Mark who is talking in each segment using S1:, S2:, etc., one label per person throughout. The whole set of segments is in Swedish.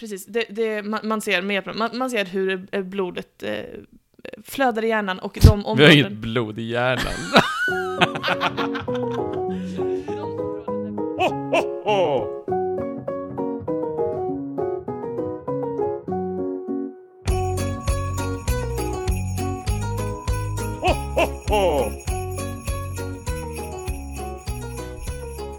S1: precis. Det, det, man, man ser med hjälp av- man, man ser hur eh, blodet eh, flödar i hjärnan och de
S2: Vi har
S1: områden...
S2: inget blod i hjärnan.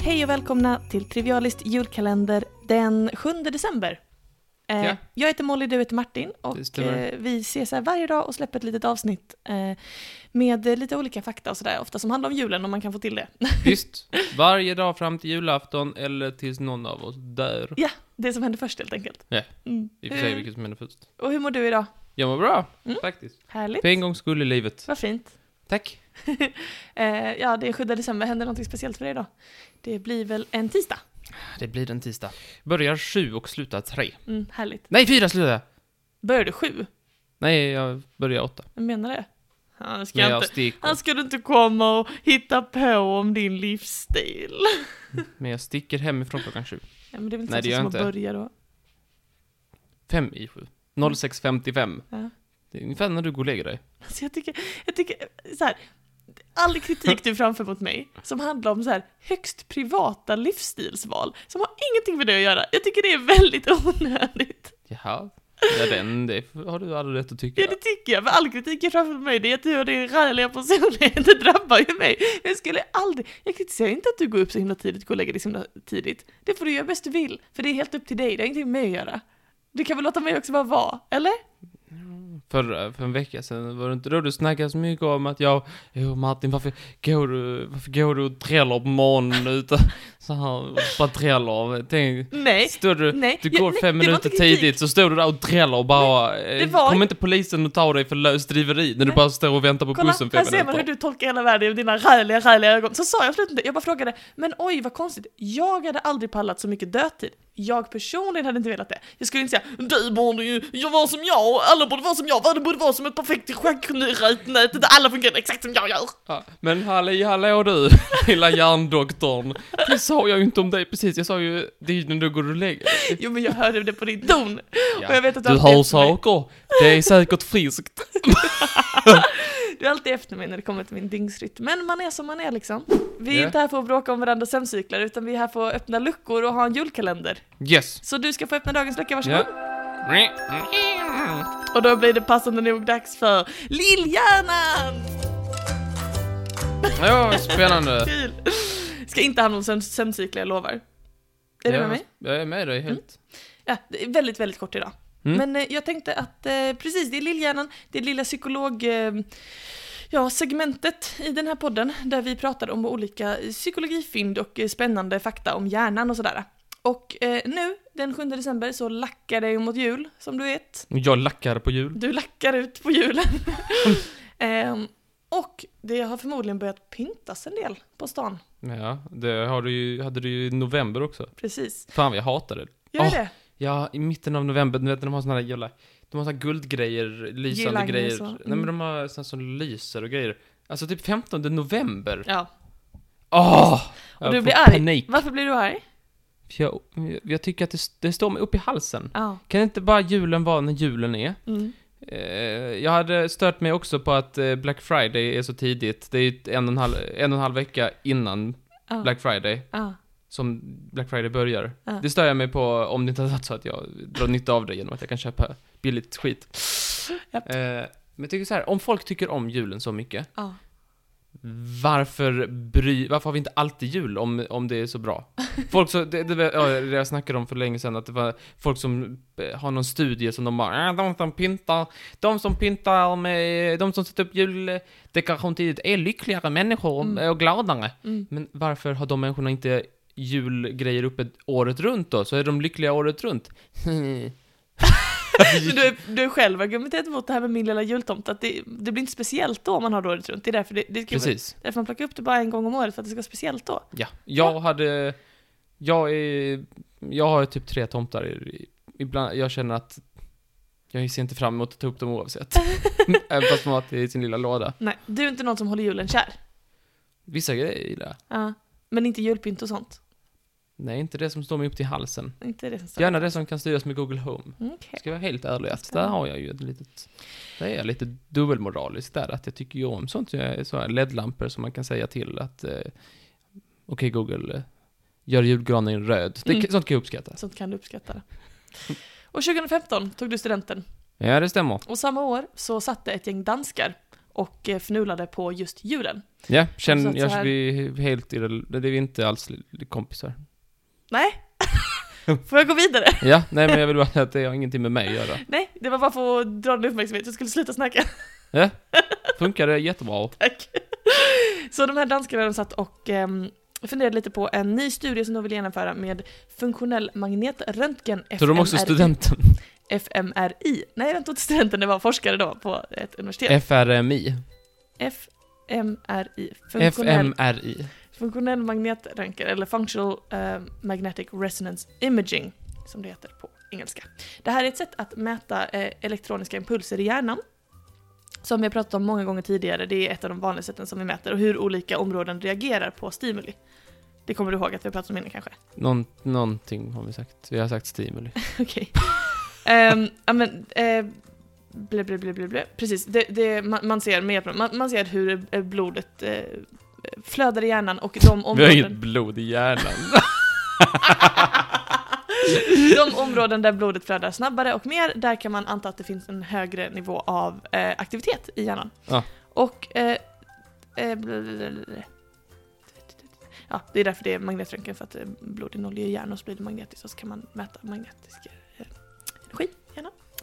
S1: Hej och välkomna till Trivialist julkalender den 7 december. Eh,
S2: Ja.
S1: Jag heter Molly, du heter Martin
S2: Det
S1: och
S2: stämmer.
S1: eh, vi ses här varje dag och släpper ett litet avsnitt eh, med eh, lite olika fakta och sådär, ofta som handlar om julen om man kan få till det.
S2: Visst, varje dag fram till julafton eller tills någon av oss dör.
S1: ja, det som händer först helt enkelt.
S2: Ja.
S1: Mm.
S2: Vi får se
S1: Hur-
S2: vilket som händer först.
S1: Och hur mår du idag?
S2: Jag mår bra,
S1: Mm.
S2: faktiskt.
S1: Härligt.
S2: För en gångs skull i livet.
S1: Vad fint.
S2: Tack.
S1: Eh, ja, det är 7 december, händer någonting speciellt för dig idag? Det blir väl en tisdag?
S2: Det blir en tisdag. Börjar sju och slutar tre.
S1: Mm, härligt.
S2: Nej, fyra slutar jag.
S1: Börjar du sju?
S2: Nej, jag börjar åtta.
S1: Jag menar det. Han ska,
S2: Men jag
S1: inte,
S2: sticker.
S1: han ska du inte komma och hitta på om din livsstil.
S2: Men jag sticker hemifrån klockan sju.
S1: Ja, men det är väl
S2: Nej,
S1: inte
S2: det
S1: så
S2: gör
S1: som
S2: jag
S1: att
S2: inte.
S1: börja då.
S2: Fem i sju. 06.55.
S1: Ja.
S2: Det är ungefär när du går och lägger dig.
S1: Alltså jag tycker, jag tycker så här, all kritik du framför mot mig som handlar om så här högst privata livsstilsval som har ingenting med det att göra. Jag tycker det är väldigt onödigt.
S2: Jaha. Ja, den, det har du all rätt att tycka.
S1: Ja, det tycker jag, för all kritik jag framför mig det är att du och din ralliga personlighet det drabbar ju mig. Jag skulle aldrig, jag kritiserar inte att du går upp så himla tidigt, går och lägger dig så himla tidigt. Det får du göra bäst du vill, för det är helt upp till dig, det har ingenting med mig att göra. Du kan väl låta mig också bara vara, eller?
S2: För, för en vecka sedan var det inte då du snackade så mycket om att jag, jo Martin varför går du, varför går du och träller på morgonen utan så här och bara träller? Tänk,
S1: Nej,
S2: står du,
S1: nej,
S2: du
S1: ja,
S2: går
S1: nej,
S2: fem
S1: det var inte
S2: minuter
S1: kritik.
S2: tidigt så står du där och träller och bara, eh,
S1: var
S2: kom
S1: inte-
S2: inte polisen och tar dig för lösdriveri när du
S1: Nej.
S2: bara står och väntar på
S1: Kolla,
S2: bussen fem
S1: här ser man hur
S2: minuter.
S1: du tolkar hela världen i dina räliga, räliga ögon. Så sa jag absolut inte, jag bara frågade, men oj vad konstigt, jag hade aldrig pallat så mycket dödtid. Jag personligen hade inte velat det. Jag skulle inte säga, du borde ju jag vara som jag, och alla borde vara som jag, världen borde vara som ett perfekt schacknät där alla fungerar exakt som jag gör.
S2: Ja, men hallå, hallå du, lilla hjärndoktorn. Det sa jag ju inte om dig precis, jag sa ju det är ju när du går och lägger dig.
S1: Jo men jag hörde det på din ton. Och jag vet att du
S2: du
S1: alltid
S2: har
S1: efter mig.
S2: saker, det är säkert friskt.
S1: Du är alltid efter mig när det kommer till min dygnsrytm. Men man är som man är liksom. Vi är
S2: Ja.
S1: inte här för att bråka om varandras sömncykler, utan vi är här för att öppna luckor och ha en julkalender.
S2: Yes.
S1: Så du ska få öppna dagens lucka, varsågod.
S2: Ja.
S1: Och då blir det passande nog dags för Lillhjärnan!
S2: Ja, spännande.
S1: Kul! Ska inte handla om sömn- sömncykler, jag lovar. Är du
S2: Ja,
S1: med mig?
S2: Jag är med dig helt.
S1: Ja, det är väldigt, väldigt kort idag.
S2: Mm.
S1: Men eh, jag tänkte att, eh, precis, det är Lillhjärnan, det är lilla psykolog... Eh, ja, segmentet i den här podden där vi pratar om olika psykologifynd och eh, spännande fakta om hjärnan och sådär. Och eh, nu, den 7 december, så lackar det ju mot jul, som du vet.
S2: Mm. Jag lackar på jul.
S1: Du lackar ut på julen. Ehm, och det har förmodligen börjat pyntas en del på stan.
S2: Ja, det har du ju, hade du ju i november också.
S1: Precis.
S2: Fan vad jag hatade det.
S1: Gör
S2: Åh,
S1: det?
S2: Ja, i mitten av november, du vet när de har såna där jävla, de har såna guldgrejer, lysande
S1: Girlanger och
S2: grejer.
S1: så,
S2: Nej men
S1: mm.
S2: de har såna som lyser och grejer. Alltså typ 15 november.
S1: Ja.
S2: Åh!
S1: Och
S2: jag
S1: du
S2: får
S1: blir arg.
S2: Panik.
S1: Varför blir du arg?
S2: För Jag, jag tycker att det, det står mig upp i halsen.
S1: Ja.
S2: Kan inte bara julen vara när julen är?
S1: Mm.
S2: Eh, jag hade stört mig också på att eh, Black Friday är så tidigt. Det är ju en och en halv, en och en halv vecka innan
S1: Ja.
S2: Black Friday
S1: Ja.
S2: som Black Friday börjar.
S1: Ja.
S2: Det stör jag mig på om det inte har varit så att jag drar nytta av det genom att jag kan köpa billigt skit.
S1: Japp.
S2: Eh, men jag tycker så här, om folk tycker om julen så mycket,
S1: ja.
S2: varför, bry, varför har vi inte alltid jul om, om det är så bra? Folk så, det, det, var- ja, det jag snackade om för länge sedan, att det var folk som eh, har någon studie som de bara, "Ah, de som pyntar, de som pyntar med, de som sätter upp juldekoration tidigt är lyckligare människor
S1: Mm.
S2: och gladare.
S1: Mm.
S2: Men varför har de människorna inte julgrejer uppe året runt då? Så är de lyckliga året runt.
S1: Men du, är- du är själv argumenterat mot det här med min lilla jultomt, att det, det blir inte speciellt då om man har det året runt. Det är därför, det, det ska,
S2: Precis.
S1: därför man plockar upp det bara en gång om året, för att det ska vara speciellt då.
S2: Ja, jag hade... Jag är... Jag har typ tre tomtar. i- Ibland, jag känner att jag ser inte fram emot att ta upp dem oavsett. Även fast man har det i sin lilla låda.
S1: Nej, du är inte någon som håller julen kär.
S2: Vissa grejer gillar jag.
S1: Ja. Men inte julpynt och sånt.
S2: Nej, inte det som står mig upp till halsen.
S1: Inte det som står.
S2: Gärna det som kan styras med Google Home.
S1: Mm, okej.
S2: Ska jag vara helt ärlig, att där har jag ju ett litet... Där är jag lite dubbelmoralisk där, att jag tycker ju om sånt. Jag är så här LED-lampor som man kan säga till att... Eh, Okej Google, eh, gör julgranen röd. Det,
S1: Mm.
S2: Sånt kan jag uppskatta.
S1: Sånt kan du uppskatta. det. Och 2015 tog du studenten.
S2: Ja, det stämmer.
S1: Och samma år så satte ett gäng danskar och eh, fnulade på just julen.
S2: Ja,
S1: Så
S2: känn,
S1: att så
S2: jag,
S1: här-
S2: vi är helt irrel- Det är vi inte alls li- kompisar.
S1: Får jag gå vidare?
S2: Ja, nej men jag vill bara säga att det har ingenting med mig att göra.
S1: Nej, det var bara för att dra din uppmärksamhet. Jag skulle sluta snacka.
S2: Funkar det jättebra.
S1: Tack. Så de här danskarna de satt och ehm, funderade lite på en ny studie som de vill genomföra med funktionell magnetröntgen,
S2: Så de också
S1: FMRI.
S2: studenten.
S1: FMRI. Nej, den tog inte studenten, det var forskare då på ett universitet.
S2: FRMI.
S1: FMRI. Funktionell,
S2: FMRI.
S1: funktionell magnetröntgen, eller Functional eh, Magnetic Resonance Imaging, som det heter på engelska. Det här är ett sätt att mäta eh, elektroniska impulser i hjärnan. Som vi har pratat om många gånger tidigare, det är ett av de vanliga sätten som vi mäter och hur olika områden reagerar på stimuli. Det kommer du ihåg att vi har pratat om innan kanske?
S2: Någon, någonting har vi sagt. Vi har sagt stimuli.
S1: Okej. Ehm, ja men... eh, blä, blä, blä, blä, blä. Precis, det, det, man, man ser med hjälp av- man, man ser hur eh, blodet eh, flödar i hjärnan och de
S2: Vi har inget
S1: områden...
S2: blod i hjärnan.
S1: de områden där blodet flödar snabbare och mer, där kan man anta att det finns en högre nivå av eh, aktivitet i hjärnan.
S2: Ja.
S1: Och... Eh, eh, blä, blä, blä, blä. Ja, det är därför det är magnetröntgen, för att eh, blod innehåller ju järn och så blir det magnetiskt och så kan man mäta magnetisk eh, energi.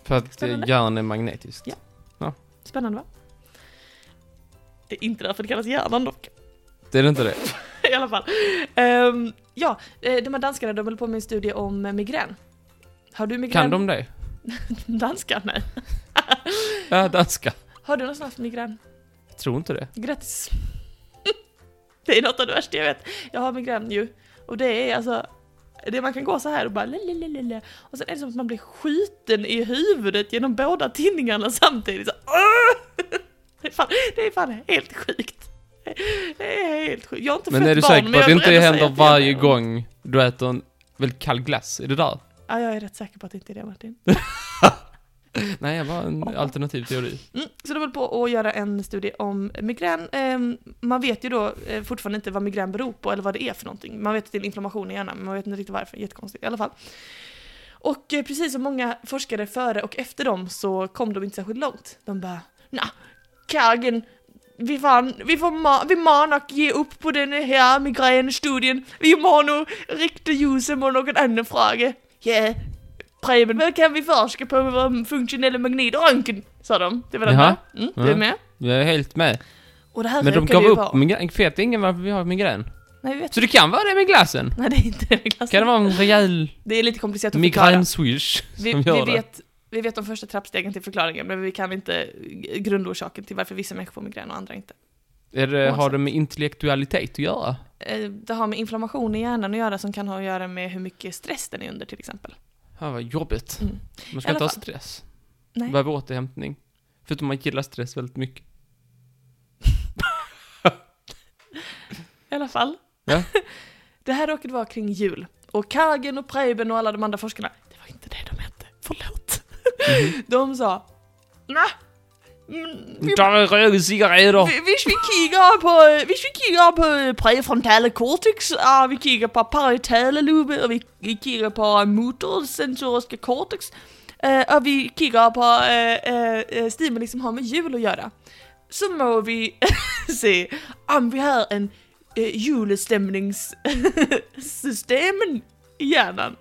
S2: För att eh,
S1: Spännande.
S2: hjärnan är magnetisk.
S1: Ja. Spännande va? Det är inte därför det kallas hjärnan dock.
S2: Det är det inte det?
S1: I alla fall. Ehm, ja, eh, de här danskarna de höll på med en studie om eh, migrän. Har du migrän?
S2: Kan de det?
S1: Danskar? Nej.
S2: Ja, danska.
S1: Har du någonsin haft migrän?
S2: Jag tror inte det.
S1: Grattis. det är något av det värsta jag vet. Jag har migrän ju. Och det är alltså... Det man kan gå så här och bara lalalala. Och sen är det som att man blir skjuten i huvudet genom båda tinningarna samtidigt. Så, Åh! det, är fan, det är fan helt sjukt. Det är helt sjukt. Jag har inte
S2: Men
S1: fött
S2: är du
S1: barn,
S2: säker på
S1: men jag
S2: att det
S1: är
S2: inte
S1: beredd att säga
S2: händer
S1: att det är
S2: varje
S1: det.
S2: gång du äter en väldigt kall glass? Är det där?
S1: Ja, jag är rätt säker på att det inte är det Martin.
S2: Nej, jag var en alternativ teori.
S1: Mm, så de höll på att göra en studie om migrän. Ehm, man vet ju då eh, fortfarande inte vad migrän beror på eller vad det är för någonting. Man vet att det är en inflammation i hjärnan men man vet inte riktigt varför. Jättekonstigt i alla fall. Och eh, precis som många forskare före och efter dem så kom de inte särskilt långt. De bara Nja, kagen, vi fan, vi får ma- vi man och ge upp på den här migränstudien. Vi må nu rikta ljuset mot någon annan fråga. Ja, Preben, vad kan vi forska på med vår funktionella magnetröntgen? Sa de. Det var den
S2: Jaha.
S1: här. Mm, du är
S2: Ja.
S1: med?
S2: Jag är helt med.
S1: Och det här
S2: Men de
S1: räkade
S2: gav
S1: ju
S2: upp
S1: vara-
S2: migrän. Vet ingen varför vi har migrän?
S1: Nej, vi vet.
S2: Så det kan vara det med glassen?
S1: Nej, det är inte det med
S2: Kan det
S1: glassen.
S2: vara en rejäl
S1: Det är lite komplicerat att Alltså, förklara.
S2: migränswish
S1: Vi,
S2: som
S1: vi,
S2: gör det?
S1: vet, vi vet de första trappstegen till förklaringen, men vi kan inte eh, grundorsaken till varför vissa människor får migrän och andra inte.
S2: Är det, har
S1: Oavsett.
S2: det med intellektualitet att göra?
S1: Eh, Det har med inflammation i hjärnan att göra som kan ha att göra med hur mycket stress den är under till exempel.
S2: Ja, vad jobbigt.
S1: Mm.
S2: Man
S1: I
S2: ska
S1: alla
S2: inte ha
S1: fall.
S2: stress.
S1: Nej.
S2: Behöver återhämtning. Förutom man gillar stress väldigt mycket.
S1: I alla fall.
S2: Ja.
S1: det här råkade vara kring jul. Och Kagen och Preben och alla de andra forskarna, det var inte det de hette, förlåt.
S2: Mhm.
S1: De sa, nä, mm, vi,
S2: Ta en röd cigarett då!
S1: vi, visst vi kikar på, visst vi kikar på prefrontala cortex, och vi kikar på parietala lube och vi, vi kikar på motorsensoriska cortex. eh, och vi kikar på eh, eh, eh, stimuli som har med jul att göra. Så må vi se om vi har en eh, julestämningssystemen i hjärnan.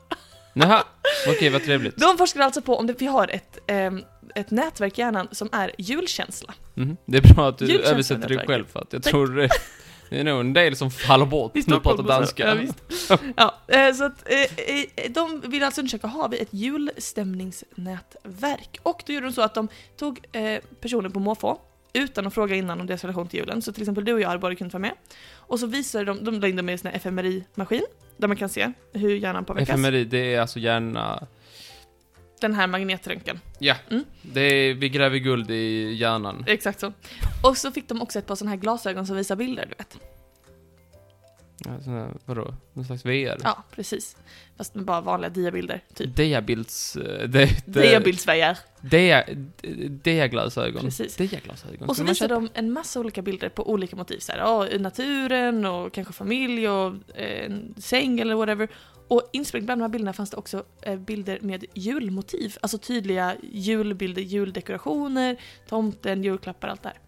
S2: Jaha, okej vad trevligt.
S1: De forskar alltså på om det, vi har ett, ehm, ett nätverk i hjärnan som är julkänsla.
S2: Mhm. Det är bra att du
S1: Julkänslan
S2: översätter dig
S1: nätverket.
S2: själv för att jag
S1: Tack.
S2: tror det, det är nog en del som faller bort
S1: I
S2: när du
S1: Stockholm
S2: pratar
S1: och så.
S2: danska.
S1: Ja, visst. ja, eh, så att, eh, eh, de vill alltså undersöka, har vi ett julstämningsnätverk? Och då gjorde de så att de tog eh, personer på måfå utan att fråga innan om deras relation till julen. Så till exempel du och jag hade båda kunnat vara med. Och så visade de, de la in dem i en sån här fMRI-maskin där man kan se hur hjärnan påverkas.
S2: FMRI, det är alltså hjärna...
S1: Den här magnetröntgen.
S2: Ja,
S1: Mm.
S2: det är, vi gräver guld i hjärnan.
S1: Exakt så. Och så fick de också ett par sådana här glasögon som visar bilder, du vet.
S2: Ja, sån här, vadå? Någon slags VR?
S1: Ja, precis. Fast med bara vanliga diabilder, typ.
S2: Diabilds... eh, de- de-
S1: Diabildsvägar.
S2: dia- d- Diaglasögon.
S1: Precis.
S2: Diaglasögon.
S1: Och så
S2: Kan man
S1: visar
S2: köpa?
S1: de en massa olika bilder på olika motiv. Så här, ja, naturen och kanske familj och eh, en säng eller whatever. Och insprängt bland de här bilderna fanns det också eh, bilder med julmotiv. Alltså tydliga julbilder, juldekorationer, tomten, julklappar, allt det här.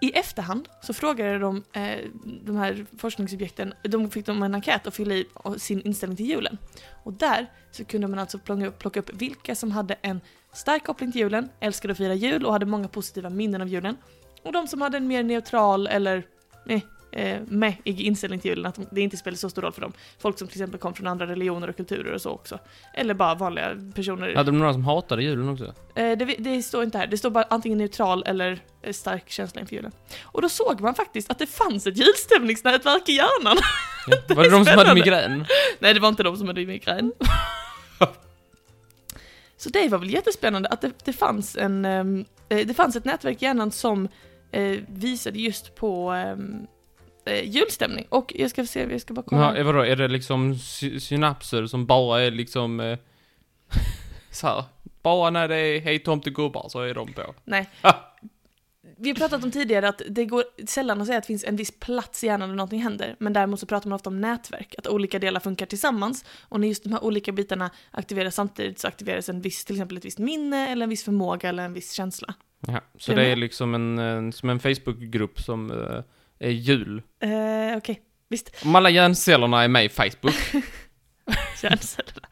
S1: I efterhand så frågade de eh, de här forskningsobjekten, de fick de en enkät att fylla i och sin inställning till julen. Och där så kunde man alltså plocka upp, plocka upp vilka som hade en stark koppling till julen, älskade att fira jul och hade många positiva minnen av julen. Och de som hade en mer neutral eller eh, eh, meh inställning till julen, att det inte spelade så stor roll för dem. Folk som till exempel kom från andra religioner och kulturer och så också. Eller bara vanliga personer.
S2: Hade de några som hatade julen också?
S1: Eh, det, det står inte här, det står bara antingen neutral eller eh, stark känsla inför julen. Och då såg man faktiskt att det fanns ett julstämningsnätverk i hjärnan.
S2: Ja.
S1: Det
S2: Var
S1: är
S2: det de som hade
S1: spännande.
S2: migrän?
S1: Nej, det var inte de som hade migrän. Så det var väl jättespännande att det, det, fanns, en, ehm, eh, det fanns ett nätverk i hjärnan som eh, visade just på ehm, eh, julstämning. Och jag ska se, jag ska bara kolla.
S2: Ja, eh, vadå, är det liksom sy synapser som bara är liksom... Eh, så här, bara när det är hej tomtegubbar så är de på.
S1: Nej.
S2: Ah.
S1: Vi har pratat om tidigare att det går sällan att säga att det finns en viss plats i hjärnan där någonting händer, men däremot så pratar man ofta om nätverk, att olika delar funkar tillsammans, och när just de här olika bitarna aktiveras samtidigt så aktiveras en viss, till exempel ett visst minne, eller en viss förmåga, eller en viss känsla.
S2: Ja, så
S1: Är
S2: det
S1: du
S2: är
S1: med?
S2: liksom en, en, som en Facebookgrupp som eh, är jul.
S1: Eh, Okej, visst.
S2: Om alla hjärncellerna är med i Facebook,
S1: Hjärncellerna.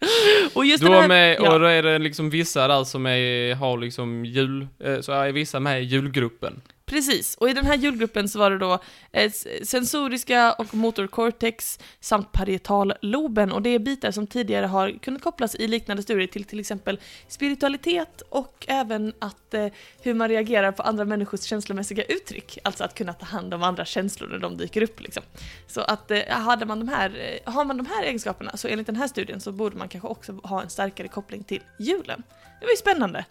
S1: Och just
S2: då
S1: den här...
S2: är med,
S1: ja.
S2: och då är det liksom vissa där som är, har liksom jul, eh, så är vissa med i julgruppen.
S1: Precis, och i den här julgruppen så var det då eh, sensoriska och motorcortex samt parietalloben och det är bitar som tidigare har kunnat kopplas i liknande studier till till exempel spiritualitet och även att eh, hur man reagerar på andra människors känslomässiga uttryck, alltså att kunna ta hand om andra känslor när de dyker upp liksom. Så att eh, hade man de här, eh, har man de här egenskaperna så enligt den här studien så borde man kanske också ha en starkare koppling till julen. Det var ju spännande!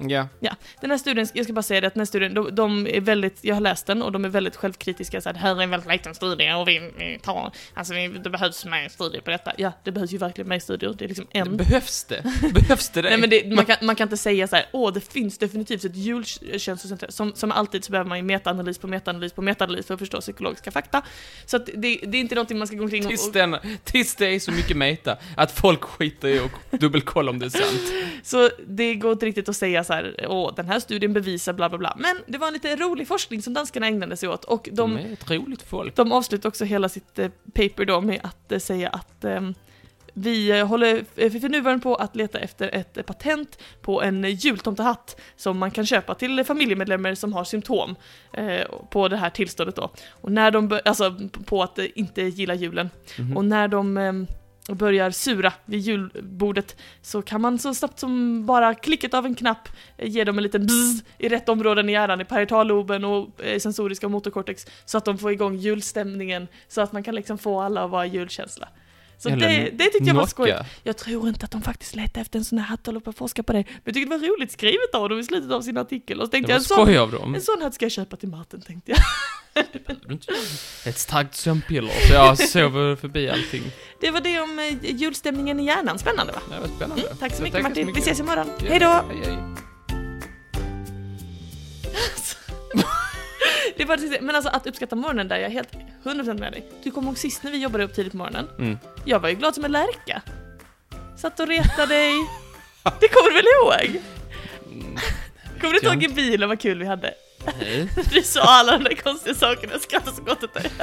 S2: Ja.
S1: Ja, den här studien, jag ska bara säga det att den här studien, de, de är väldigt, jag har läst den och de är väldigt självkritiska så här, det här är en väldigt liten studie och vi vi tar, alltså vi, det behövs mer studier på detta. Ja, det behövs ju verkligen mer studier, det är liksom en.
S2: Behövs det? Behövs det det?
S1: Nej men det, man, kan, man kan inte säga så här, åh det finns definitivt ett julkänslocentrum. Som, som alltid så behöver man ju metaanalys på metaanalys på metaanalys för att förstå psykologiska fakta. Så att det, det är inte någonting man ska gå omkring och...
S2: Tills,
S1: och
S2: den, tills det är så mycket meta att folk skiter i och dubbelkolla om det är sant.
S1: så det går inte riktigt att säga så här, åh den här studien bevisar bla bla bla. Men det var en lite rolig forskning som danskarna ägnade sig åt och de...
S2: är ett roligt folk.
S1: De avslutar också hela sitt eh, paper då med att eh, säga att ehm, vi eh, håller eh, för nuvarande på att leta efter ett eh, patent på en eh, jultomtehatt som man kan köpa till eh, familjemedlemmar som har symptom eh, på det här tillståndet då. Och när de, bör- alltså p- på att eh, inte gilla julen.
S2: Mm. Mhm.
S1: Och när de ehm, börjar sura vid julbordet så kan man så snabbt som bara klicket av en knapp eh, ge dem en liten bzzz i rätt områden i hjärnan, i paritalloben och eh, sensoriska och motorkortex så att de får igång julstämningen så att man kan liksom få alla att vara i julkänsla. Så
S2: Eller
S1: det, det tyckte jag var
S2: Nocka.
S1: skoj. Jag tror inte att de faktiskt letade efter en sån här hatt och höll på att forska på det. Men jag tyckte det var roligt skrivet av dem i slutet av sin artikel. Och så tänkte
S2: Det
S1: jag
S2: var
S1: en sån,
S2: skoj av dem.
S1: en sån hatt ska jag köpa till Martin tänkte jag.
S2: Ett starkt sömnpiller, så jag sover förbi allting.
S1: Det var det om eh, julstämningen i hjärnan. Spännande va?
S2: Det var spännande.
S1: Mm, Tack så
S2: Ja,
S1: mycket
S2: tack så
S1: Martin. Vi
S2: mycket.
S1: ses imorgon. Hej då!
S2: Hej, hej.
S1: Det var precis det. Men alltså att uppskatta morgonen där, jag är helt 100% med dig. Du kommer ihåg sist när vi jobbade upp tidigt på morgonen?
S2: Mm.
S1: Jag var ju glad som en lärka. Satt och retade dig. Det kommer du väl ihåg?
S2: Mm.
S1: Kommer du inte
S2: jag
S1: ihåg i bilen vad kul vi hade?
S2: Nej.
S1: Du sa alla de där konstiga sakerna, jag skrattade så gott åt dig.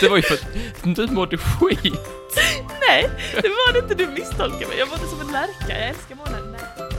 S2: Det var ju för att du mådde skit.
S1: Nej, det var det inte, du misstolkar mig. Jag mådde som en lärka, jag älskar morgonen. Nej.